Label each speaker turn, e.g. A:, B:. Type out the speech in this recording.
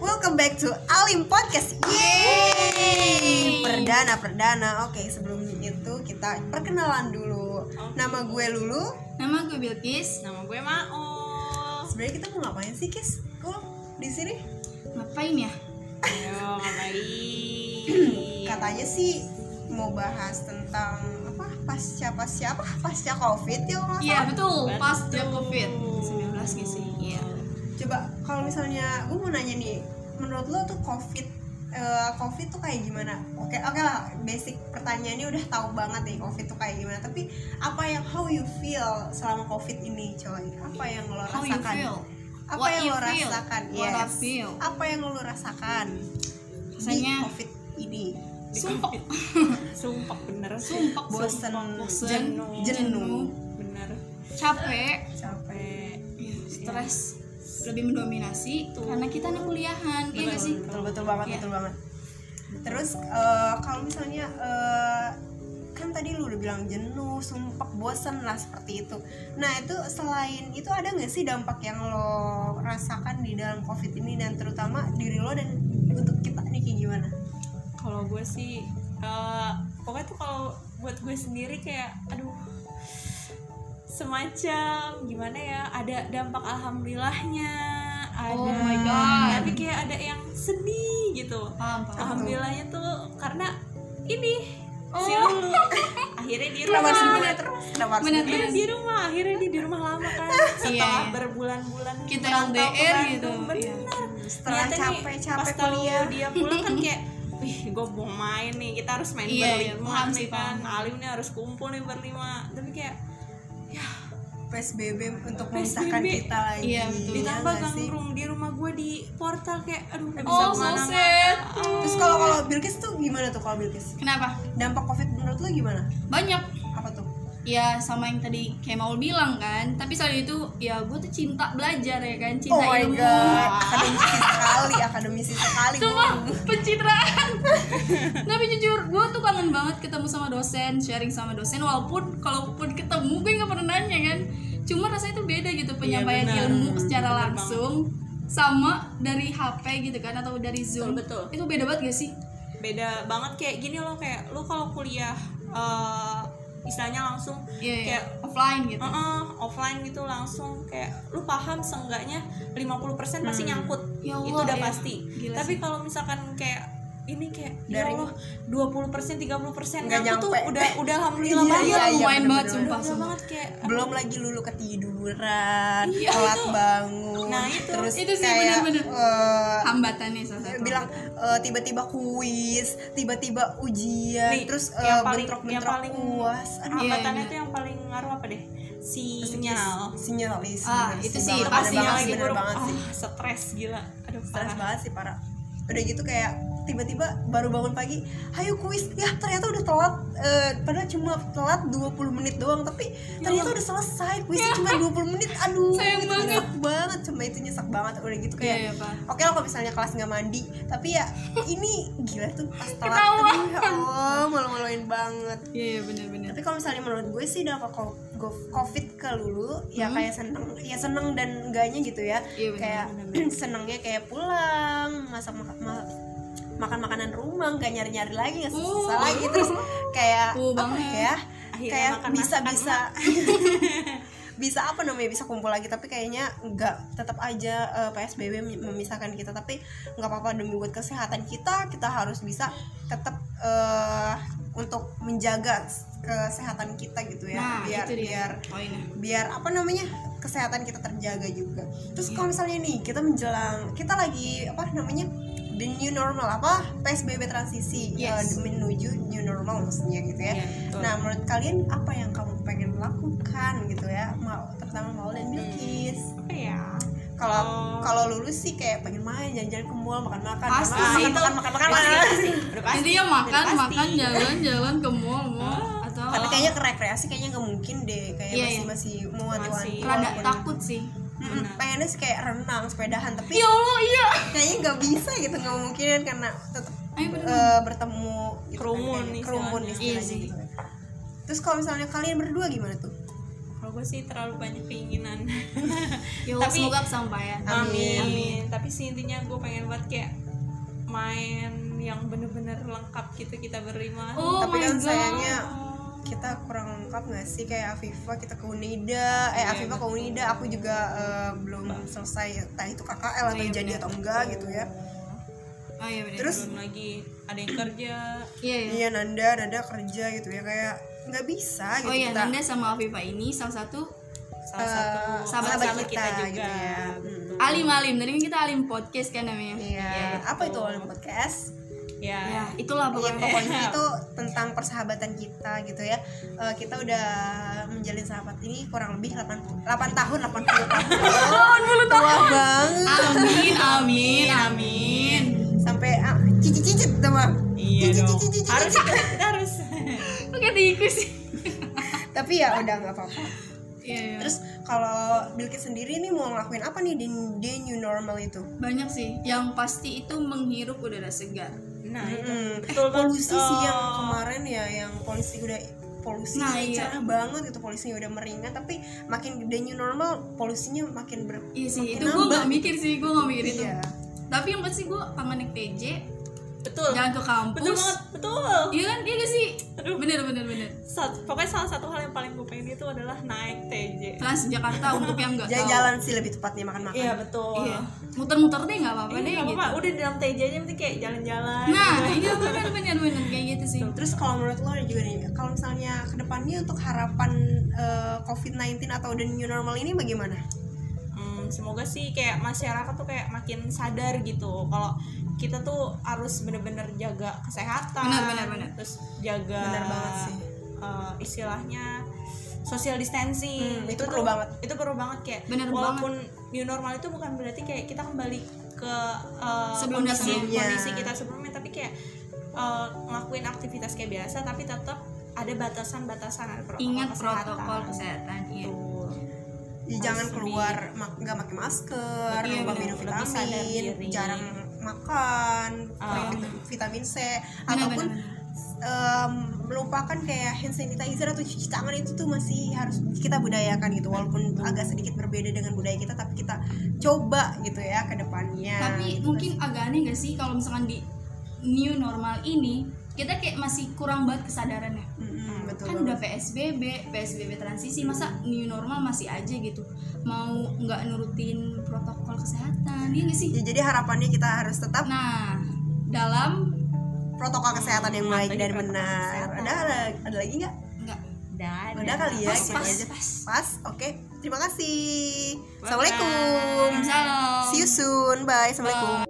A: welcome back to Alim Podcast. Yeay!
B: Yeay.
A: Perdana perdana. Oke, sebelum itu kita perkenalan dulu. Nama gue Lulu.
B: Nama gue Bilkis. Nama gue Mao.
A: Sebenarnya kita mau ngapain sih, Kis? Kok di sini?
B: Ngapain ya?
C: Ayo,
B: Iya.
C: ngapain?
A: Katanya sih mau bahas tentang apa? Pasca pasca apa? Pasca Covid ya, kalau nggak
B: Iya
A: salah.
B: betul.
C: Betul.
B: Pas dia covid 19 gitu sih. Iya.
A: Coba kalau misalnya gue mau nanya nih, menurut lo tuh Covid eh, Covid tuh kayak gimana? Oke, oke lah, basic pertanyaannya udah tahu banget nih Covid tuh kayak gimana. Tapi apa yang how you feel selama Covid ini, coy? Apa yang lo
B: How
A: rasakan?
B: you feel?
A: Apa
B: What
A: yang
B: you
A: lo
B: feel?
A: rasakan?
B: What I
A: Yes.
B: feel?
A: Apa yang lo rasakan
B: Rasanya
A: di Covid ini?
C: Sumpah. Sumpah bener.
B: Sumpah,
A: Bosen,
B: bosen,
A: jenuh,
B: jenuh,
C: Bener. iya.
B: capek,
C: Capek.
B: ya, stres lebih mendominasi karena kita nih kuliahan, iya gak sih?
A: betul betul banget
B: Iya.
A: betul banget terus eh, kalau misalnya eh, kan tadi lu udah bilang jenuh sumpah bosan lah seperti itu nah itu selain itu ada nggak sih dampak yang lo rasakan di dalam covid ini dan terutama diri lo dan untuk kita nih kayak gimana
C: Kalau gue sih, eh, pokoknya tuh kalau buat gue sendiri kayak, aduh, semacam gimana ya? Ada dampak alhamdulillahnya. Ada,
B: Oh my God.
C: Tapi kayak ada yang sedih gitu.
B: Paham, paham.
C: Alhamdulillahnya tuh karena ini
B: Oh.
C: si Lulu. akhirnya di
A: kenapa
C: rumah
A: harus dimana terus kenapa harus
B: Bener.
C: Akhirnya Kan di rumah akhirnya dia di rumah lama kan setelah
B: iya.
C: berbulan-bulan
B: Kita
C: merantau ke
B: LDR
C: Bandung,
B: gitu, iya.
C: bener
A: setelah
C: Ternyata nih,
A: capek capek
C: pas tahu
A: kuliah
C: dia pulang kan kayak wih gue mau main nih kita harus main
B: Iya, iya,
C: berlima
B: paham
C: nih
B: sih,
C: kan
B: paham.
C: alim nih harus kumpul nih berlima tapi kayak
A: Iya psbb untuk
C: PSBB.
A: memisahkan kita lagi
B: Iya, betul.
A: ya
C: ditambah
A: nggak sih?
C: gangrum di rumah gue di portal kayak aduh nggak bisa
B: Oh, so
C: kemana-mana. Ya
B: sad.
C: kan.
A: terus kalau kalau Bilkis tuh gimana tuh kalau Bilkis
B: Kenapa?
A: dampak covid menurut lo gimana
B: Banyak
A: apa tuh
B: ya sama yang tadi kayak mau bilang kan tapi selain itu ya gue tuh cinta belajar ya kan
A: oh
B: cinta
A: my
B: ilmu
A: god,
B: Wah.
A: akademisi sekali, akademisi sekali.
B: Sumpah,
A: Bu.
B: pencitraan Tapi jujur, gue tuh kangen banget ketemu sama dosen Sharing sama dosen, walaupun Kalaupun ketemu, gue gak pernah nanya kan Cuma rasanya tuh beda gitu Penyampaian
C: Iya, benar.
B: ilmu secara
C: Benar
B: langsung Sama dari HP gitu kan Atau dari Zoom
C: Betul, betul.
B: Itu beda banget gak sih?
C: beda banget kayak gini loh kayak lu kalau kuliah eh, istilahnya langsung
B: Iya, iya.
C: kayak
B: offline gitu
C: Heeh, offline gitu langsung kayak lu paham seenggaknya 50% pasti
A: Hmm.
C: nyangkut.
B: Ya Allah,
C: itu udah
B: iya.
C: pasti.
B: Gila
C: Tapi
B: sih.
C: kalau misalkan kayak ini kayak
A: Dari-
C: dari ya Allah, 20% 30%
A: Nggak
C: nyangkut tuh
A: nyampe.
C: udah udah alhamdulillah
A: Iya,
C: banget.
A: iya, iya,
B: lumayan
A: bener-bener.
B: banget sumpah,
C: Udah
B: sumpah.
C: banget kayak
A: Belum lagi lulu ketiduran,
B: Iya,
A: telat
B: itu.
A: bangun.
C: Nah, itu.
A: terus
B: Itu sih
A: kayak
B: bener-bener.
A: eh,
B: Hambatannya salah satu
A: bilang eh, tiba-tiba kuis, tiba-tiba ujian,
C: Nih,
A: terus eh,
C: yang paling- yang
A: bentrok-bentrok Ah,
C: paling-
A: uas. Aduh,
B: Iya,
C: hambatannya
B: iya.
C: tuh yang paling ngaruh apa deh? Sinyal.
A: sinyal is.
B: Ah,
A: bener
B: itu
A: sih
B: sih,
A: banget, bener
B: pasti
C: Sinyal
A: banget,
C: lagi
A: bener
C: buruk.
A: banget Iya, sih.
C: Ah, stres gila. Aduh,
A: stres
C: parah.
A: banget sih parah udah gitu kayak tiba-tiba baru bangun pagi ayo kuis ya ternyata udah telat eh, padahal cuma telat 20 menit doang tapi ternyata udah selesai kuisnya cuma 20 menit aduh
B: Ya Sayang
A: itu
B: banget.
A: nyesek banget cuma itu nyesek banget udah gitu
B: Iya,
A: kayak
B: iya, Pak.
A: Oke lah kalau misalnya kelas nggak mandi, tapi ya ini gila tuh pas telat
B: Ketawa.
A: aduh, ya Allah malu-maluin banget.
B: Iya, iya, bener-bener
A: Tapi kalau misalnya menurut gue sih dampak ko- go- covid ke lulu ya
B: Hmm.
A: kayak seneng ya seneng dan enggaknya gitu ya.
B: Iya, bener.
A: kayak senengnya kayak pulang, masak makan makan makanan rumah, nggak nyari-nyari lagi, nggak susah
B: Uh.
A: lagi terus kayak
B: Uh,
A: apa
B: banget.
A: ya?
C: Akhirnya
A: kayak
C: makan
A: bisa
C: masakan
A: bisa bisa apa namanya bisa kumpul lagi tapi kayaknya nggak tetap aja eh, psbb mem- memisahkan kita tapi nggak apa-apa demi buat kesehatan kita kita harus bisa tetap eh, untuk menjaga s- kesehatan kita gitu ya
B: Nah,
A: biar
B: itu dia
A: biar
B: poinnya.
A: biar apa namanya kesehatan kita terjaga juga
B: Iya.
A: terus kalau misalnya nih kita menjelang kita lagi apa namanya the new normal apa psbb transisi eh,
B: Yes.
A: menuju new normal maksudnya gitu ya
C: Iya, betul.
A: nah menurut kalian apa yang kamu pengen lakukan gitu ya mau terutama mau
B: Hmm.
A: dan Bilkis
C: Apa ya?
A: kalau
C: Oh.
A: kalau lulus sih kayak pengen main jalan-jalan ke mall makan-makan makan,
B: Pasti sih
A: makan,
B: itu.
A: makan makan makan
C: Pasti,
A: makan.
C: pasti. Udah pasti.
B: Intinya makan,
C: Udah pasti. Ah,
B: makan, jalan-jalan ke mall, mall atau
A: tapi kayaknya ke rekreasi kayaknya nggak mungkin deh kayak
B: Oh. Iya,
A: masih
B: iya.
A: masih mewanti-wanti
C: Masih.
B: rada
A: walaupun-
B: takut sih.
A: Mm-mm, pengennya sih kayak renang sepedahan tapi
B: Ya Allah, iya.
A: kayaknya nggak bisa gitu nggak mungkin karena tetap
B: Ayo bener.
A: eh, bertemu gitu kan,
C: Kerumun
A: kayak kerumun
C: istilahnya.
A: istilahnya
B: Iya sih.
A: gitu kan. terus kalau misalnya kalian berdua gimana tuh
C: Kalau kalau gue sih terlalu banyak keinginan
B: Yo, Ya
C: Tapi-
B: semoga kesampaian.
A: Amin.
C: amin. tapi sih intinya gue pengen buat kayak main yang bener-bener lengkap gitu kita berlima
B: Oh
A: Tapi
B: my
A: kan
B: god.
A: sayangnya kita kurang lengkap nggak sih kayak Afifa kita ke Unida eh
C: Iya,
A: Afifa ke
C: betul.
A: Unida aku juga eh, belum selesai entah itu KKL atau
B: Iya,
A: jadi
B: benar.
A: atau enggak gitu ya
B: Oh iya benar.
A: Terus-
C: belum lagi ada yang kerja
B: Iya iya.
A: iya Nanda Nanda kerja gitu ya kayak nggak bisa gitu
B: Oh iya,
A: kita
B: Nanda sama Afifa ini salah satu
C: salah satu
A: eh,
B: sahabat
A: kita gitu ya.
C: Betul.
B: alim alim. Tadi kan kita alim podcast kan namanya.
A: iya apa itu awal podcast
C: ya,
B: Ya, itulah
A: Iya,
B: pokoknya.
A: pokoknya itu tentang persahabatan kita gitu ya. Eh, kita udah menjalin sahabat ini kurang lebih 8 8 tahun 80 tahun. Tua banget.
B: Amin, amin, amin.
A: Sampai ah, cicit-cicit teman.
C: iya
A: Cici,
C: dong
A: cici, cici,
C: harus
A: cici.
C: kita harus
B: Oke, diikus.
A: Tapi ya udah nggak apa-apa.
B: Iya, iya.
A: Terus kalau Bilkis sendiri nih mau ngelakuin apa nih di, di new normal itu?
B: banyak sih yang pasti itu menghirup udara segar.
C: nah itu
A: Hmm,
C: Betul banget.
A: polusi sih yang
C: Oh.
A: kemarin ya yang polisi udah polusi
B: Nah,
A: ini
B: iya.
A: cerah banget gitu polisinya udah meringan tapi makin the new normal polusinya makin ber
B: Iya sih,
A: makin
B: itu gue
A: nambah.
B: gak mikir sih, gue gak mikir itu.
A: Iya.
B: Tapi yang pasti gue kangen naik TJ,
C: betul
B: jalan ke kampus.
C: betul banget betul
B: Iya kan, iya gak sih? Bener, bener, bener.
C: Sat- pokoknya salah satu hal yang paling gue pengen itu adalah naik TJ
B: Transjakarta untuk yang gak tahu.
A: jalan-jalan sih lebih tepatnya makan-makan
C: iya betul
B: Iya. Muter-muter deh gak apa-apa
C: Iya,
B: deh
C: nggak
B: gitu.
C: apa-apa. udah di dalam TJ aja penting kayak jalan-jalan
B: Nah, iya bener, bener, bener kayak gitu sih.
A: terus kalau menurut lo ada juga nih kalau misalnya kedepannya untuk harapan eh, COVID-19 atau the new normal ini bagaimana?
C: Hmm, semoga sih kayak masyarakat tuh kayak makin sadar gitu kalau kita tuh harus bener-bener jaga kesehatan
B: Benar, benar, benar.
C: terus jaga
A: Benar banget sih.
C: eh, istilahnya social distancing
A: Hmm, itu perlu banget.
C: itu perlu banget kayak
B: Benar
C: walaupun new normal itu bukan berarti kayak kita kembali ke eh,
B: Sebelum
C: kondisi
A: sebelumnya.
C: kondisi kita sebelumnya tapi kayak eh, ngelakuin aktivitas kayak biasa tapi tetap ada batasan-batasan ada protokol
B: Ingat
C: kesehatan.
B: protokol kesehatan. Iya.
C: Betul.
A: Ya,
C: Harus
A: jangan
C: lebih-
A: keluar mak- nggak pakai masker,
B: Iya,
A: nggak
B: benar.
A: minum
C: Lebih sadar
A: vitamin,
C: diri.
A: jarang makan, kurang
C: benar.
A: vit- vitamin C,
B: Ah. Benar,
A: ataupun
B: benar,
A: em, melupakan kayak hand sanitizer atau cuci tangan itu tuh masih harus kita budayakan gitu, walaupun agak sedikit berbeda dengan budaya kita, tapi kita coba gitu ya ke depannya.
B: tapi
A: Gitu.
B: mungkin agak aneh gak sih kalau misalkan di new normal ini kita kayak masih kurang banget kesadarannya
A: Mm-mm, betul banget.
B: kan udah PSBB, PSBB transisi masa new normal masih aja gitu mau nggak nurutin protokol kesehatan iya gak sih
A: Ya, jadi harapannya kita harus tetap
B: nah dalam
A: protokol kesehatan yang baik
C: Lagi
A: dan
C: protokol
A: benar.
C: kesehatan.
A: Ada ada lagi nggak?
B: nggak
C: Dan
A: Udah kali ya.
B: Pas,
A: gitu
B: pas,
A: aja.
B: pas.
A: Pas, Oke. Terima kasih. Assalamualaikum.
B: Salam.
A: See you soon. Bye. Assalamualaikum.